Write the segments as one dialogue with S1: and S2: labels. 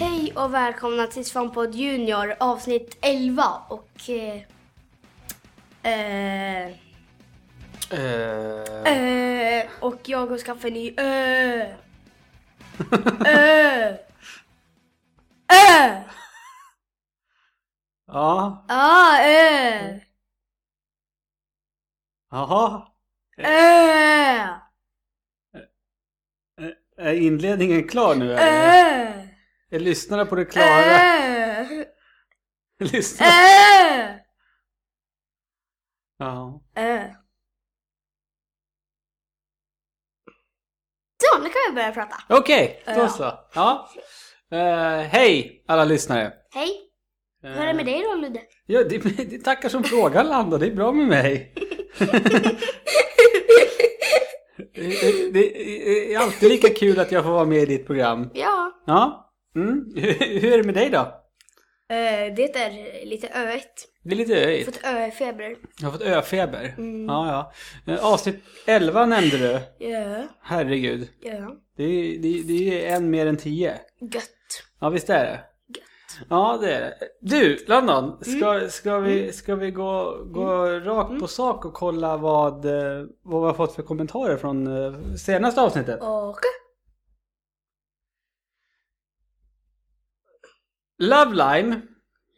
S1: Hej och välkomna till Svamppodd Junior avsnitt 11 och... Eh, eh,
S2: Eh,
S1: eh, och jag har skaffat en ny ö. Ö. Ö.
S2: ja,
S1: Ja, ö.
S2: jaha.
S1: Ö.
S2: Är inledningen klar nu eller?
S1: Ö.
S2: Är lyssnarna på det
S1: Eh.
S2: klara?
S1: Ö.
S2: Lyssna.
S1: Eh. Ö.
S2: Ja.
S1: Ö. Så, nu kan vi börja prata.
S2: Okej, då
S1: Ja.
S2: så. Ja. Eh, hej alla lyssnare.
S1: Hej, hur är det
S2: Eh.
S1: med dig då Ludde?
S2: Ja, det, det tackar som frågan landar. Det är bra med mig. det, det är alltid lika kul att jag får vara med i ditt program.
S1: Ja.
S2: Ja. Mm. Hur är det med dig då?
S1: Eh, Det är lite öigt.
S2: Det är lite
S1: Jag har
S2: öigt.
S1: fått Mm. öfeber.
S2: Jag har fått öfeber. Ja, ja. Eh, Avsnitt 11 nämnde du.
S1: Ja,
S2: Herregud.
S1: ja.
S2: Det är, det, är- det är en mer än 10.
S1: Gött.
S2: Ja, visst är det? Ja, det är det. Du, London. Ska,
S1: Mm.
S2: ska, vi, ska vi gå, gå rakt på sak och kolla vad, eh, vad vi har fått för kommentarer från eh, senaste avsnittet?
S1: Och
S2: Lovelime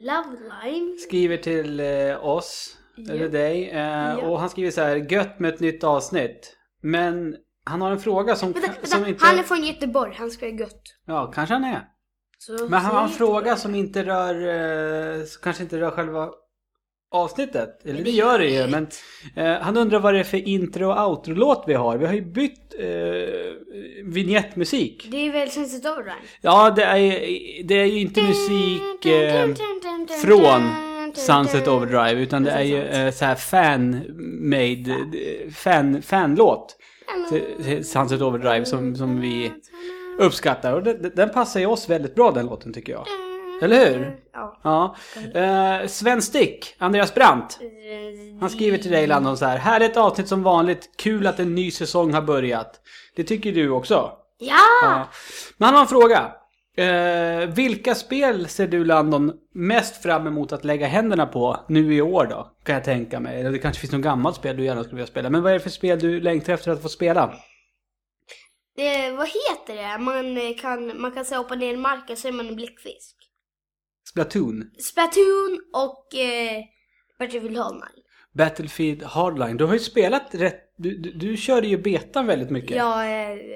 S1: Love Line.
S2: skriver till eh, oss, eller
S1: Ja.
S2: dig, eh,
S1: Ja.
S2: och han skriver så här Gött med ett nytt avsnitt. Men han har en fråga som,
S1: Vänta,
S2: som
S1: vänta.
S2: inte...
S1: Han är från Göteborg. Han ska ha gött.
S2: Ja, kanske han är.
S1: Så
S2: Men han har en
S1: säg-
S2: fråga som inte rör, eh, som kanske inte rör själva avsnittet. Eller det gör det ju, men eh, han undrar vad det är för intro och outro-låt vi har. Vi har ju bytt eh, vignettmusik.
S1: Det är väl Sunset Overdrive?
S2: Ja, det är, det är ju inte musik eh, från Sunset Overdrive, utan det är ju eh, så här fan-made, eh, fan, fan-låt till- till Sunset Overdrive som, som vi uppskattar. Och den, den passar ju oss väldigt bra den låten tycker jag. Eller hur?
S1: Ja.
S2: Ja. Eh, Sven Stick, Andreas Brandt. Han skriver till dig Landon så här. Här är ett avsnitt som vanligt. Kul att en ny säsong har börjat. Det tycker du också.
S1: Ja!
S2: Ja. Men han har en fråga. Eh, vilka spel ser du Landon mest fram emot att lägga händerna på nu i år då? Kan jag tänka mig. Eller det kanske finns något gammalt spel du gärna skulle vilja spela. Men vad är det för spel du längtar efter att få spela?
S1: Eh, vad heter det? Man eh, kan, man kan så här hoppa ner i marken så är man en bläckfisk.
S2: Splatoon?
S1: Splatoon och eh, Battlefield Hall Nine.
S2: Battlefield Hardline? Du har ju spelat rätt... Du, du, du körde ju betan väldigt mycket.
S1: Ja, eh, det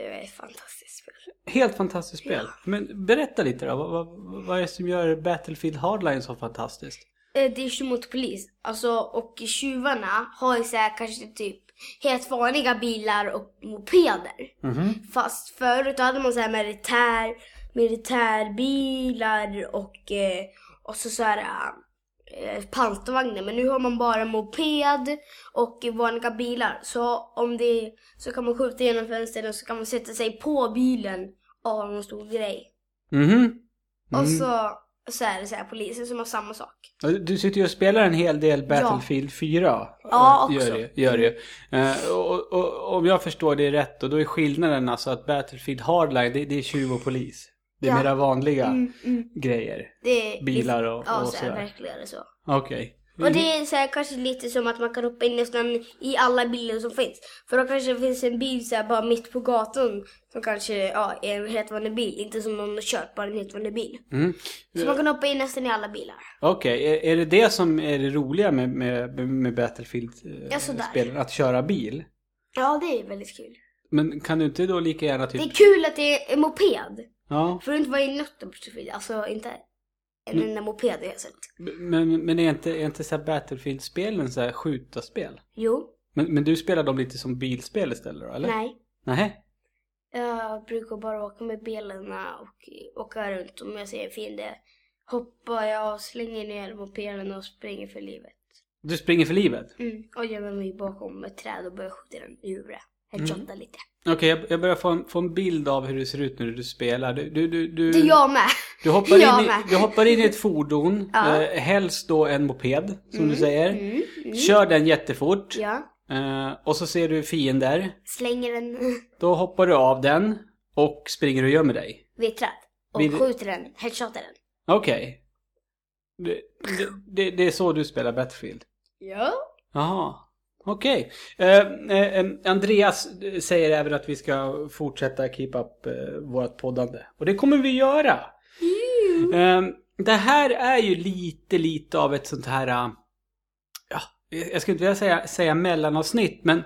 S1: är ett fantastiskt spel.
S2: Helt fantastiskt spel. Men berätta lite då. Vad, vad, vad är det som gör Battlefield Hardline så fantastiskt?
S1: Eh, Det är ju mot polis. Alltså, och tjuvarna har ju så här, kanske typ helt vanliga bilar och mopeder. Fast förut då hade man så här militär, militärbilar och, eh, och så, så här eh, pansarvagnar. Men nu har man bara moped och vanliga bilar. Så om det så kan man skjuta genom fönstren och så kan man sätta sig på bilen och ha någon stor grej.
S2: Mhm.
S1: Och så, så är det så här polisen som har samma sak.
S2: Och Du sitter ju och spelar en hel del Battlefield 4.
S1: Ja,
S2: eh, Gör
S1: också.
S2: det, gör det. ju. Eh, och, och, om jag förstår det rätt då, då är skillnaden alltså att Battlefield Hardline, det, det är tjuv och polis. Det är
S1: Ja.
S2: mera vanliga
S1: Mm, mm.
S2: grejer.
S1: Det är
S2: Bilar
S1: lite-
S2: och-
S1: ja,
S2: och Mm.
S1: så
S2: sådär.
S1: här, verkligen är det så.
S2: Okej.
S1: Och det är så här, kanske lite som att man kan hoppa in nästan i alla bilar som finns. För då kanske det finns en bil så här, bara mitt på gatan som kanske ja, är en helt vanlig bil. Inte som någon har kört, bara en helt vanlig bil.
S2: Mm.
S1: Så man kan hoppa in nästan i alla bilar.
S2: Okej, är, är det det som är det roliga med, med,
S1: Ja,
S2: med
S1: sådär.
S2: Battlefield-spelen? att köra bil?
S1: Ja, det är väldigt kul.
S2: Men kan du inte då lika gärna
S1: Det
S2: typ...
S1: är kul att det är en moped.
S2: Ja,
S1: För det inte vara i något av Battlefield. Alltså inte
S2: Mm.
S1: en enda moped har jag sett.
S2: men, men är inte, är inte så här Battlefield-spelen så här skjutarspel?
S1: Jo,
S2: Men, men du spelar dem lite som bilspel istället då, eller?
S1: nej.
S2: Nej.
S1: Jag brukar bara åka med bilarna och åka runt. Om jag ser en fiende hoppar jag och slänger ner mopeden och springer för livet.
S2: Du springer för livet?
S1: Mm. Och gömmer mig bakom ett träd och börjar skjuta den i huvudet. headshotta lite.
S2: Okej, jag, jag börjar få en, få en bild av hur det ser ut när du spelar. Du, du, du, du,
S1: Det är jag med.
S2: du, hoppar
S1: jag
S2: in i,
S1: med.
S2: du hoppar in i ett fordon,
S1: Ja.
S2: eh, helst då en moped som du säger.
S1: Mm, mm.
S2: Kör den jättefort
S1: Ja.
S2: eh, och så ser du fiender.
S1: Slänger den
S2: Då hoppar du av den och springer och gömmer dig.
S1: vittrad. Och
S2: Vid-
S1: skjuter den, headshotar den.
S2: Okej. Det, det, det, det är så du spelar Battlefield?
S1: Ja.
S2: Jaha. Okej. Eh, eh, eh, Andreas säger även att vi ska fortsätta keep up eh, vårt poddande. Och det kommer vi göra. Eh, det här är ju lite, lite av ett sånt här... eh, ja, jag skulle inte vilja säga, säga mellanavsnitt, men...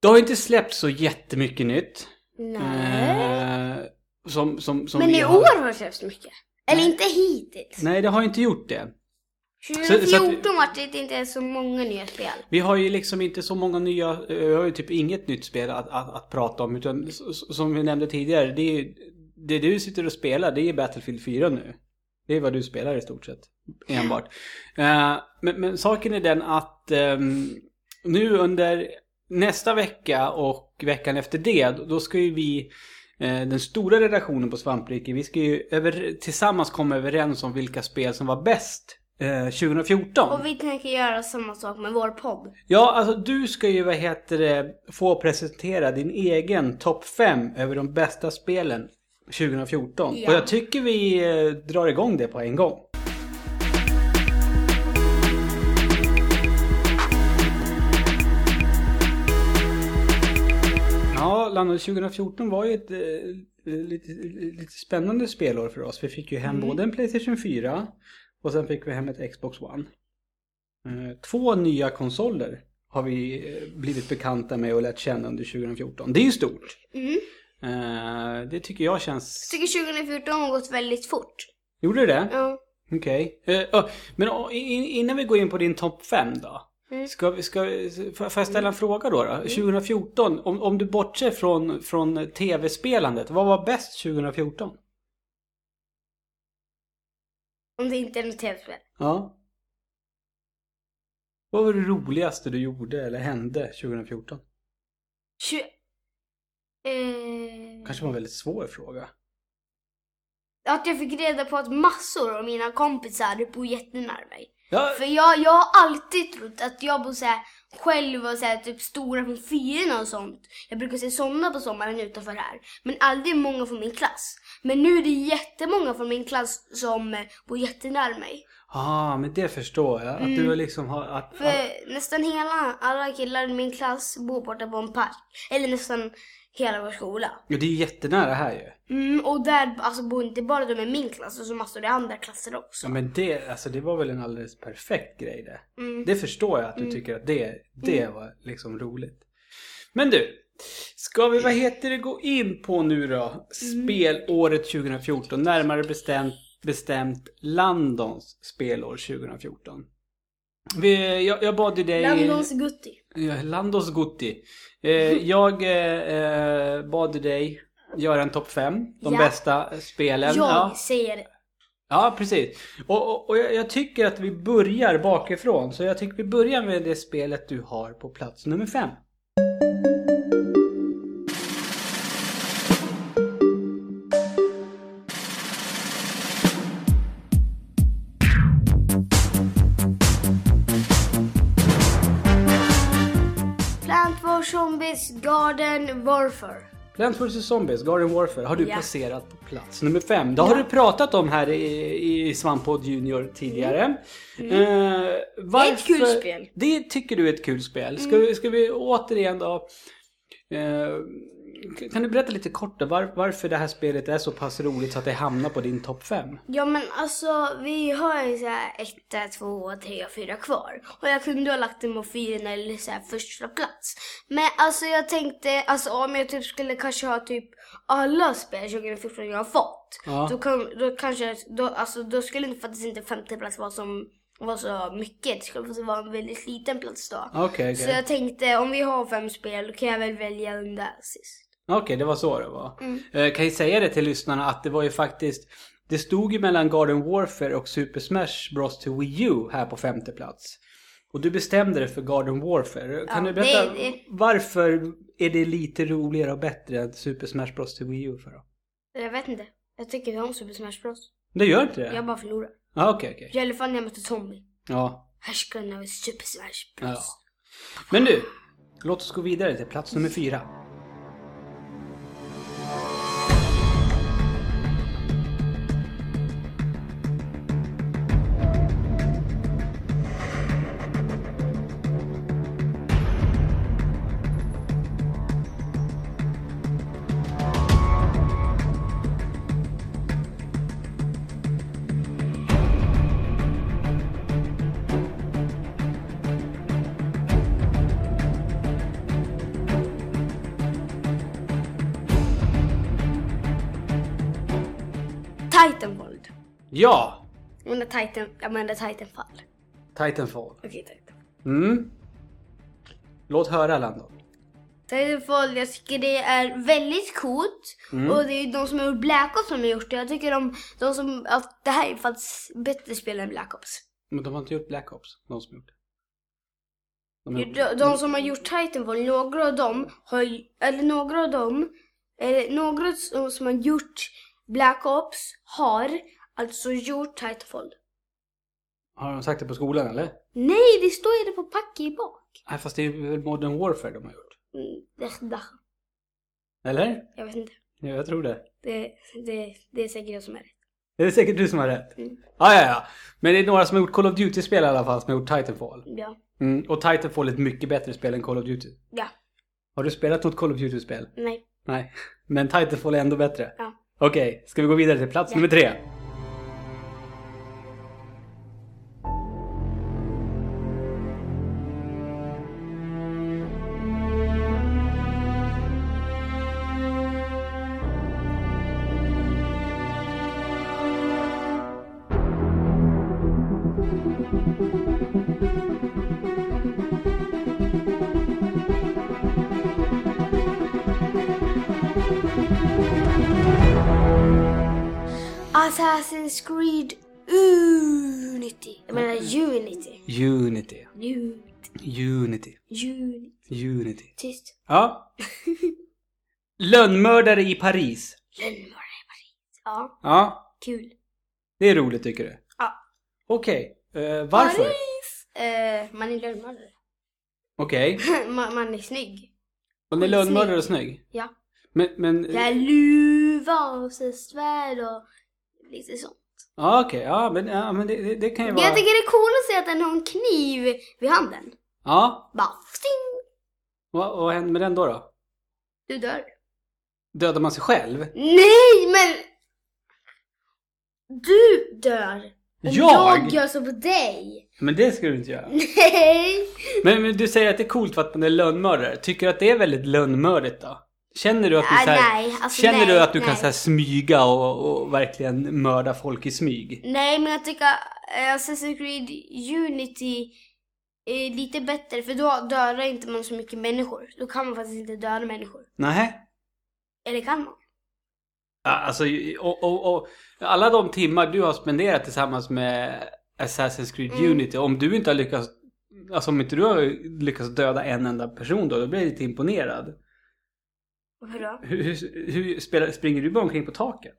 S2: Det har ju inte släppts så jättemycket nytt.
S1: Nej.
S2: Eh, som, som, som
S1: Men
S2: vi
S1: i
S2: har-
S1: år har det släppts mycket. Eller inte hittills.
S2: Nej, det har inte gjort det. så att-
S1: 2014 var det inte ens så många nya spel.
S2: Vi har ju liksom inte så många nya, eh, vi har ju typ inget nytt spel att, att, att prata om. Utan s- s- som vi nämnde tidigare, det, är, ju- det du sitter och spelar det är Battlefield 4 nu. Det är vad du spelar i stort sett, enbart. Eh, men, men saken är den att ehm, nu under nästa vecka och veckan efter det, då ska ju vi eh, den stora redaktionen på Svampriket, vi ska ju över, tillsammans komma överens om vilka spel som var bäst eh, 2014.
S1: Och vi tänker göra samma sak med vår podd.
S2: Ja, alltså du ska ju, vad heter det, få presentera din egen topp 5 över de bästa spelen 2014.
S1: Ja.
S2: Och jag tycker vi eh, drar igång det på en gång. Ja, Lando, 2014 var ju ett eh, lite, lite spännande spelår för oss. Vi fick ju hem både en Playstation 4 och sen fick vi hem ett Xbox One. Eh, Två nya konsoler har vi eh, blivit bekanta med och lärt känna under 2014. Det är ju stort.
S1: Mm.
S2: Eh, Det tycker jag känns...
S1: Jag tycker 2014 har gått väldigt fort.
S2: Gjorde du det?
S1: Ja.
S2: Okej. Eh, ja, Men å- in- innan vi går in på din topp 5 då.
S1: Mm.
S2: Ska, vi- ska, får får jag ställa en fråga då? då? 2014, om, om du bortser från, från tv-spelandet, vad var bäst 2014?
S1: Om det inte är något tv-spel.
S2: Ja. Vad var det roligaste du gjorde eller hände 2014?
S1: Tju- eh,
S2: Kanske var en väldigt svår fråga.
S1: Att jag fick reda på att massor av mina kompisar bor jättenära mig.
S2: Ja,
S1: För jag, jag har alltid trott att jag bor så här själv och så här, typ stora från fyrorna och sånt. Jag brukar se sådana på sommaren utanför här. Men aldrig många från min klass. Men nu är det jättemånga från min klass som eh, bor jättenära mig.
S2: ah, men det förstår jag. Att
S1: Mm.
S2: du liksom har... Att,
S1: För nästan hela, alla killar i min klass bor borta på en park. Eller nästan hela vår skola.
S2: Ja, det är ju jättenära här ju.
S1: Mm, och där alltså, bor inte bara de i min klass, och så massor i andra klasser också.
S2: Ja, men det, alltså, det var väl en alldeles perfekt grej det.
S1: Mm.
S2: Det förstår jag att du tycker att det, det var liksom roligt. Men du, ska vi vad heter det gå in på nu då?
S1: Mm.
S2: Spelåret 2014, närmare bestämt, bestämt Landons spelår 2014. Vi, jag, jag bad ju dig...
S1: Landons Gutti.
S2: Ja, Landos Gutti. Eh, jag eh, eh, bad dig göra en topp 5, de
S1: Ja.
S2: bästa spelen.
S1: Jag
S2: Ja.
S1: säger
S2: Ja, precis. Och, och, och jag jag tycker att vi börjar bakifrån. Så jag tycker vi börjar med det spelet du har på plats nummer fem.
S1: Plant vs Zombies Garden Warfare.
S2: Plants vs Zombies, Garden Warfare, har du
S1: Ja.
S2: placerat på plats nummer fem. Det har du pratat om här i, i Svampodd Junior tidigare. Eh, varför-
S1: Mm. ett kul spel. Mm.
S2: Det tycker du är ett kul spel. Ska, vi- ska vi återigen då... Eh, kan du berätta lite kort då, var, varför det här spelet är så pass roligt så att det hamnar på din topp fem?
S1: Ja men alltså vi har ju såhär 1, 2, 3 och 4 kvar. Och jag kunde ha lagt dem på fyran eller såhär första plats. Men alltså jag tänkte, alltså om jag typ skulle kanske ha typ alla spel 2014 jag har fått.
S2: Ja.
S1: Då, kan, då kanske, då, alltså då skulle inte faktiskt inte femte plats vara som var så mycket. Det skulle faktiskt vara en väldigt liten plats då.
S2: Okej, okej.
S1: Så jag tänkte om vi har fem spel då kan jag väl välja den där sist.
S2: Okej, det var så det var.
S1: Mm.
S2: Eh, Kan jag säga det till lyssnarna att det var ju faktiskt det stod ju mellan Garden Warfare och Super Smash Bros till Wii U här på femte plats. Och du bestämde dig för Garden Warfare. Kan
S1: Ja,
S2: du berätta
S1: det- det-
S2: varför är det lite roligare och bättre än Super Smash Bros till Wii U för då?
S1: Jag vet inte. Jag tycker om Super Smash Bros.
S2: Det gör inte det?
S1: Jag bara förlorar.
S2: Ja, okej, okej.
S1: I alla fall när jag mötte Tommy.
S2: Ja.
S1: Härskaren av Super Smash Bros.
S2: ja. Men du, låt oss gå vidare till plats nummer fyra.
S1: Titanvold.
S2: Ja!
S1: Jag menar Titan... Jag menar Titanfall.
S2: Titanfall.
S1: Okej, Titanfall.
S2: Mm. Låt höra Lando.
S1: Titanfall, jag tycker det är väldigt coolt. Och det är ju de som har gjort Black Ops som har gjort det. Jag tycker de, de som... Att det här är faktiskt bättre spel än Black Ops.
S2: Men de har inte gjort Black Ops, de som gjort det. De har gjort-
S1: De, de som har gjort Titanfall, några av dem har ju- eller några av dem, eller några av de som har gjort Black Ops har alltså gjort Titanfall.
S2: Har de sagt det på skolan eller?
S1: Nej, det står ju det på packet bak.
S2: Nej, fast det är väl Modern Warfare de har gjort?
S1: Mm, det- där.
S2: Eller?
S1: Jag vet inte.
S2: Ja, jag tror det.
S1: Det, det, det är säkert jag som är rätt.
S2: Det är säkert du som har rätt.
S1: Mm.
S2: Ja, ja, ja. Men det är några som har gjort Call of Duty-spel i alla fall som har gjort Titanfall.
S1: Ja.
S2: Mm. Och Titanfall är ett mycket bättre spel än Call of Duty.
S1: Ja.
S2: Har du spelat något Call of Duty-spel?
S1: Nej.
S2: Nej. Men Titanfall är ändå bättre?
S1: Ja.
S2: Okej, ska vi gå vidare till plats
S1: Ja.
S2: nummer tre?
S1: Assassin's Creed Unity. Jag menar Unity.
S2: Unity.
S1: Unity.
S2: Unity.
S1: Unity.
S2: Unity.
S1: Tyst.
S2: Ja. Lönnmördare i Paris.
S1: Lönnmördare i Paris. Ja,
S2: Ja.
S1: kul.
S2: Det är roligt tycker du?
S1: Ja.
S2: Okej. Eh, varför?
S1: Paris! Eh, man är lönnmördare.
S2: Okej.
S1: man, man är snygg.
S2: Hon är
S1: Snygg.
S2: lönnmördare och snygg?
S1: Ja.
S2: Men, men...
S1: Jag är luva och så svärd och lite sånt.
S2: Ja, okej. Ja, men, ja, men det, det, det kan ju
S1: Men
S2: vara...
S1: jag tycker det är coolt att se att den har en kniv vid handen.
S2: Ja.
S1: Bara sting!
S2: Vad, vad händer med den då, då?
S1: Du dör.
S2: Dödar man sig själv?
S1: Nej men! Du dör! Om
S2: Jag?
S1: jag gör så på dig!
S2: Men det ska du inte göra.
S1: Nej!
S2: Men, men du säger att det är coolt för att man är lönnmördare. Tycker du att det är väldigt lönnmördigt då? Känner du att du,
S1: Ah,
S2: så här,
S1: nej, alltså,
S2: känner
S1: nej,
S2: du att du
S1: nej.
S2: kan så här, smyga och, och verkligen mörda folk i smyg?
S1: Nej, men jag tycker eh, Assassin's Creed Unity är lite bättre för då dödar inte man så mycket människor. Då kan man faktiskt inte döda människor.
S2: Nej.
S1: Eller kan man?
S2: Ja, Alltså, och, och, och alla de timmar du har spenderat tillsammans med Assassin's Creed
S1: Mm.
S2: Unity, om du inte har lyckats Alltså om inte du har lyckats döda en enda person då, då blir jag lite imponerad.
S1: Hur då?
S2: Hur, hur, hur spelar, springer du bara omkring på taket?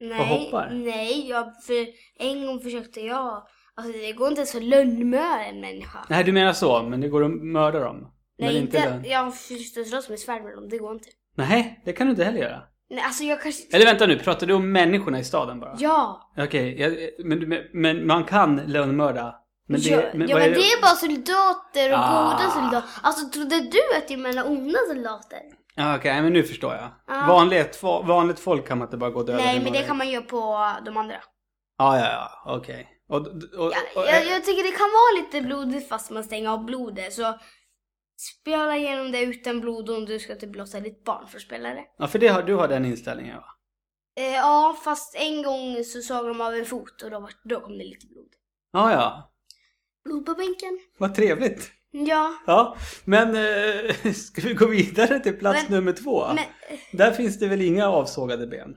S1: Nej,
S2: hoppar?
S1: nej, jag, för en gång försökte jag. Alltså det går inte ens att lönnmörda en människa.
S2: Nej, du menar så, men det går att mörda dem?
S1: nej,
S2: men
S1: inte.
S2: den.
S1: Jag försökte slåss med svärd med dem, det går inte.
S2: Nej, det kan du inte heller göra.
S1: Nej, alltså jag kanske...
S2: Eller vänta nu, pratar du om människorna i staden bara?
S1: Ja!
S2: Okej, jag- men, men, men man kan lönnmörda? Men det,
S1: ja, men, ja,
S2: vad
S1: men
S2: är
S1: det är bara soldater och
S2: Ah.
S1: goda soldater. Alltså trodde du att jag menar onda soldater?
S2: Ja, Okej, men nu förstår jag.
S1: Ja.
S2: Vanligt, vanligt folk kan man inte bara gå och döda.
S1: Nej,
S2: hur
S1: men
S2: många-
S1: det kan man göra på de andra.
S2: Ja, ja, ja, okej. Och, och, och,
S1: Ja, jag, jag tycker det kan vara lite blodigt fast man stänger av blodet. Så spela igenom det utan blod om du ska typ blotta ditt barn för att spela det.
S2: ja, för det har, du har den inställningen va?
S1: Eh, ja, fast en gång så såg de av en fot och då, var, då kom det lite blod.
S2: Ja, ja.
S1: Blod på bänken.
S2: Vad trevligt.
S1: Ja,
S2: Ja, men eh, ska vi gå vidare till plats
S1: Men-
S2: nummer två?
S1: men... eh,
S2: Där finns det väl inga avsågade ben?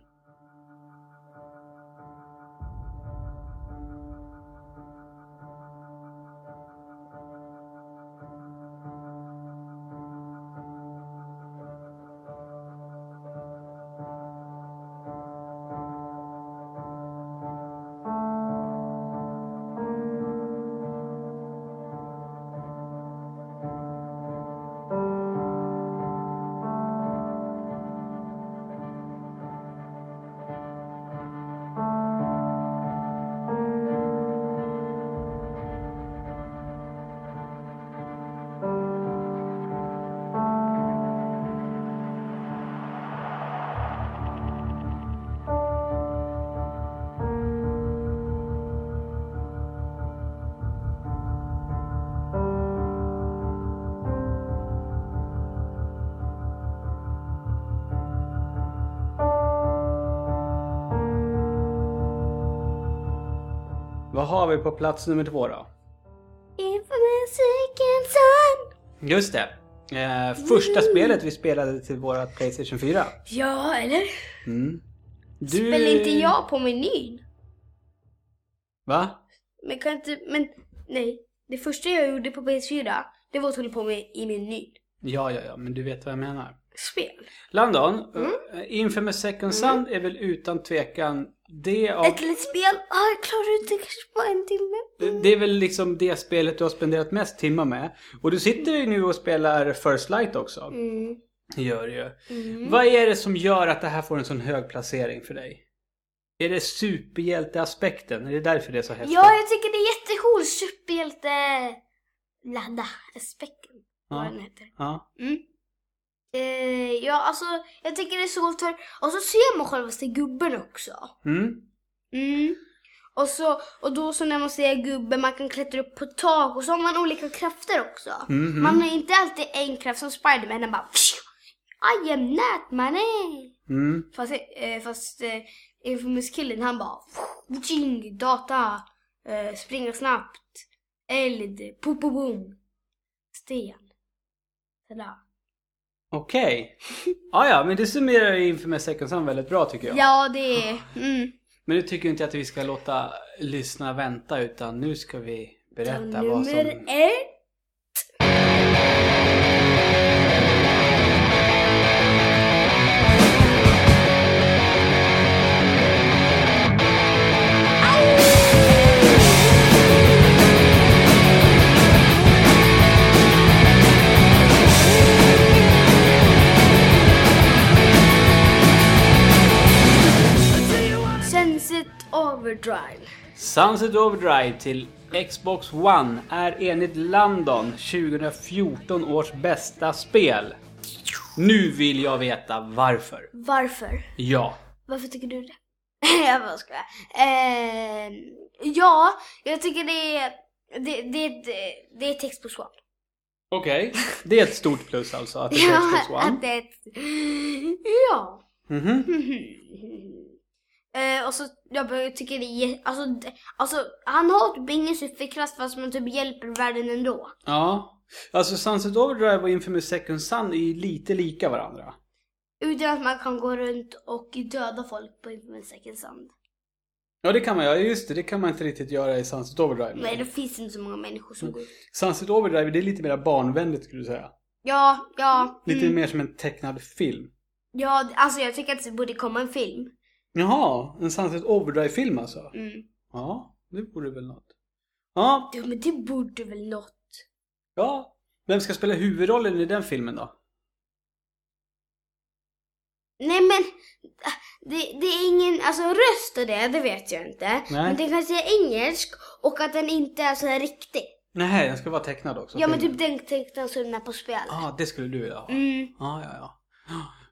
S2: Vad har vi på plats nummer två då?
S1: Inför musikens son.
S2: Just det. Eh, första
S1: Mm.
S2: spelet vi spelade till våra Playstation 4.
S1: Ja, eller?
S2: Mm. Du...
S1: Spelar inte jag på menyn?
S2: Va?
S1: Men kan inte, men nej. Det första jag gjorde på PS4, det var att hålla på med i menyn.
S2: Ja, ja, ja, men du vet vad jag menar.
S1: Spel.
S2: Landon,
S1: Mm.
S2: eh, Infamous Second Son är väl utan tvekan det av...
S1: Ett litet spel. Ah, jag klarar inte kanske på en timme.
S2: Det är väl liksom det spelet du har spenderat mest timmar med. Och du sitter ju nu och spelar First Light också.
S1: Mm.
S2: Det gör du ju. Vad är det som gör att det här får en sån hög placering för dig? Är det superhjälteaspekten? Är det därför det är så häftigt?
S1: Ja, jag tycker det är jättecool superhjälte... Ladda. Specken. Vad
S2: Ja.
S1: den heter.
S2: Ja.
S1: Mm. Eh, ja, alltså jag tycker det är så coolt för... Och så ser man självaste gubben också.
S2: Mm.
S1: Mm. Och, så, och då så när man ser gubben, man kan klättra upp på tak och så har man olika krafter också.
S2: Mhm.
S1: Man har inte alltid en kraft som Spiderman, den bara I am not money.
S2: Mm.
S1: Fast, eh, fast eh, Infamous-killen han bara Jing, data, eh, springa snabbt, eld, pop pop boom, sten. Sådär.
S2: Okej. Ah, ja, men det summerar ju Infamous Second Son väldigt bra tycker jag.
S1: Ja, det är... Mm.
S2: Men nu tycker inte jag att vi ska låta lyssna vänta utan nu ska vi berätta vad som...
S1: Nummer ett. Sunset Overdrive.
S2: Sunset Overdrive till Xbox One är enligt Landon 2014 års bästa spel. Nu vill jag veta varför.
S1: Varför?
S2: Ja.
S1: Varför tycker du det? jag bara skojar. Eh, ja, jag tycker det är... Det, det, det, det är ett Xbox One.
S2: Okej. Det är ett stort plus alltså att det är
S1: Ja,
S2: Xbox One.
S1: att det är ett... Ja.
S2: Mhm.
S1: Eh, och så, jag bara tycker det är... jä- Alltså, det- alltså han har typ ingen superkraft fast man typ hjälper världen ändå.
S2: Ja. Alltså Sunset Overdrive och Infamous Second Son är ju lite lika varandra.
S1: Utan att man kan gå runt och döda folk på en second sand.
S2: Ja det kan man göra, just det. Det kan man inte riktigt göra i Sunset Overdrive.
S1: Nej, det finns inte så många människor
S2: Mm.
S1: som går ut.
S2: Sunset Overdrive det är lite mer barnvänligt skulle du säga.
S1: Ja, ja.
S2: Lite
S1: mm.
S2: mer som en tecknad film.
S1: Ja, alltså jag tycker att det borde komma en film.
S2: Jaha, en Sunset Overdrive-film alltså?
S1: Mm.
S2: Ja, det vore väl något. Ja,
S1: Ja, men det borde väl något.
S2: ja. Vem ska spela huvudrollen i den filmen då?
S1: Nej men, äh, det, det är ingen, alltså röst och det, det vet jag inte. Men den kanske är engelsk och att den inte är så här riktig.
S2: Nej, den ska vara tecknad också.
S1: Ja men
S2: filmen.
S1: typ den tecknaren som är på spel.
S2: Ja, det skulle du vilja ha.
S1: Mm.
S2: Ja, ja, ja.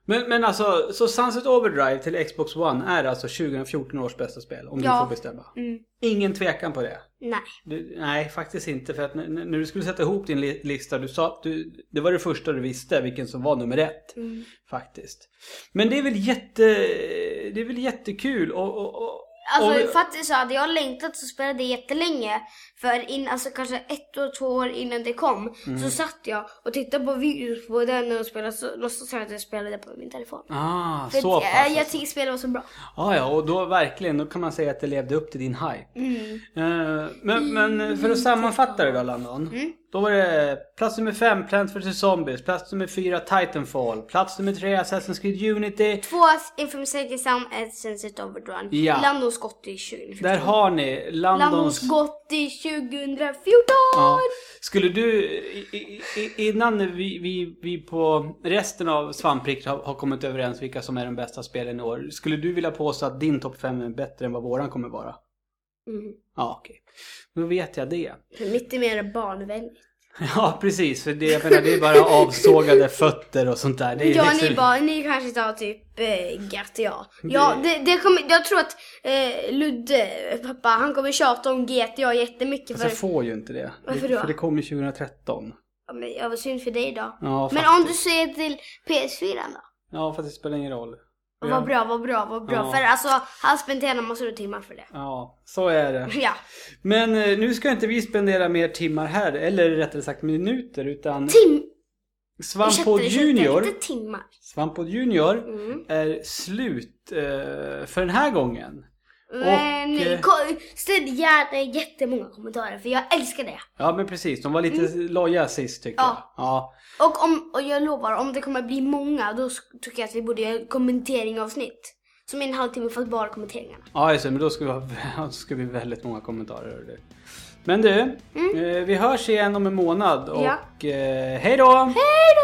S2: Men, men alltså, så Sunset Overdrive till Xbox One är alltså 2014 års bästa spel? Om
S1: Ja.
S2: du får bestämma.
S1: Mm.
S2: Ingen tvekan på det?
S1: Nej.
S2: Du, nej, faktiskt inte. För att när, när du skulle sätta ihop din li- lista, du sa att du, det var det första du visste vilken som var nummer ett.
S1: Mm.
S2: Faktiskt. Men det är väl, jätte, det är väl jättekul och, och, och
S1: Alltså
S2: och-
S1: faktiskt så hade jag längtat så spelade det jättelänge. För in, alltså kanske ett år, två år innan det kom
S2: Mm.
S1: så satt jag och tittade på videos på den och spelade så låtsas jag att jag spelade på min telefon.
S2: Ah,
S1: För
S2: så
S1: att, eh,
S2: pass.
S1: jag, jag
S2: alltså.
S1: tycker spelet var så bra.
S2: ah, ja, och då verkligen, då kan man säga att det levde upp till din hype.
S1: Mm.
S2: Eh, men, men för att sammanfatta det då Landon.
S1: Mm.
S2: Då var det plats nummer 5, Plants vs Zombies. Plats nummer 4, Titanfall. Plats nummer 3, Assassin's Creed Unity.
S1: Två informationssäker sam ett sensit overdone.
S2: Ja.
S1: Landons skott i 2014.
S2: Där har ni Landons...
S1: Landons skott i 2014!
S2: Ja. Skulle du, i- i- i- innan vi, vi, vi på resten av Svamprikt har, har kommit överens vilka som är de bästa spelen i år. Skulle du vilja påstå att din topp 5 är bättre än vad våran kommer vara?
S1: Mm.
S2: Ja, okej. Då vet jag det.
S1: För Mitt är mer barnvänligt.
S2: Ja, precis. För det, jag menar, det är bara avsågade fötter och sånt där. Det är
S1: Ja,
S2: liksom-
S1: ni, bara, ni kanske tar typ eh, GTA. Ja, det, det kommer, jag tror att eh, Ludde, eh, pappa, han kommer tjata om GTA jättemycket. För,
S2: Fast Alltså, jag får ju inte det.
S1: Varför
S2: det
S1: då?
S2: för det kom ju 2013.
S1: ja, men jag var synd för dig då.
S2: Ja,
S1: men
S2: fast,
S1: om du ser till PS4 då?
S2: ja, fast det spelar ingen roll.
S1: Och vad bra, vad bra, vad bra.
S2: Ja.
S1: För alltså, han spenderar massor av timmar för det.
S2: Ja, så är det.
S1: Ja.
S2: Men eh, nu ska inte vi spendera mer timmar här, eller rättare sagt minuter, utan
S1: Tim...
S2: Svampod
S1: ursäkta, ursäkta,
S2: Junior,
S1: Inte timmar.
S2: Svampod Junior
S1: Mm.
S2: är slut eh, för den här gången.
S1: Men
S2: eh,
S1: ko- ställ gärna jättemånga kommentarer för jag älskar det.
S2: Ja men precis, de var lite loja sist tycker
S1: Mm. Ja.
S2: jag. Ja.
S1: Och, om, och jag lovar, om det kommer bli många då sk- tycker jag att vi borde göra ett kommenteringavsnitt. Som är en halvtimme fast bara kommenteringarna.
S2: Ja just det, men då ska vi ha då ska vi ha väldigt många kommentarer. hör du. Men du, eh, vi hörs igen om en månad och
S1: Mm. Ja.
S2: eh, hej då!
S1: Hej då!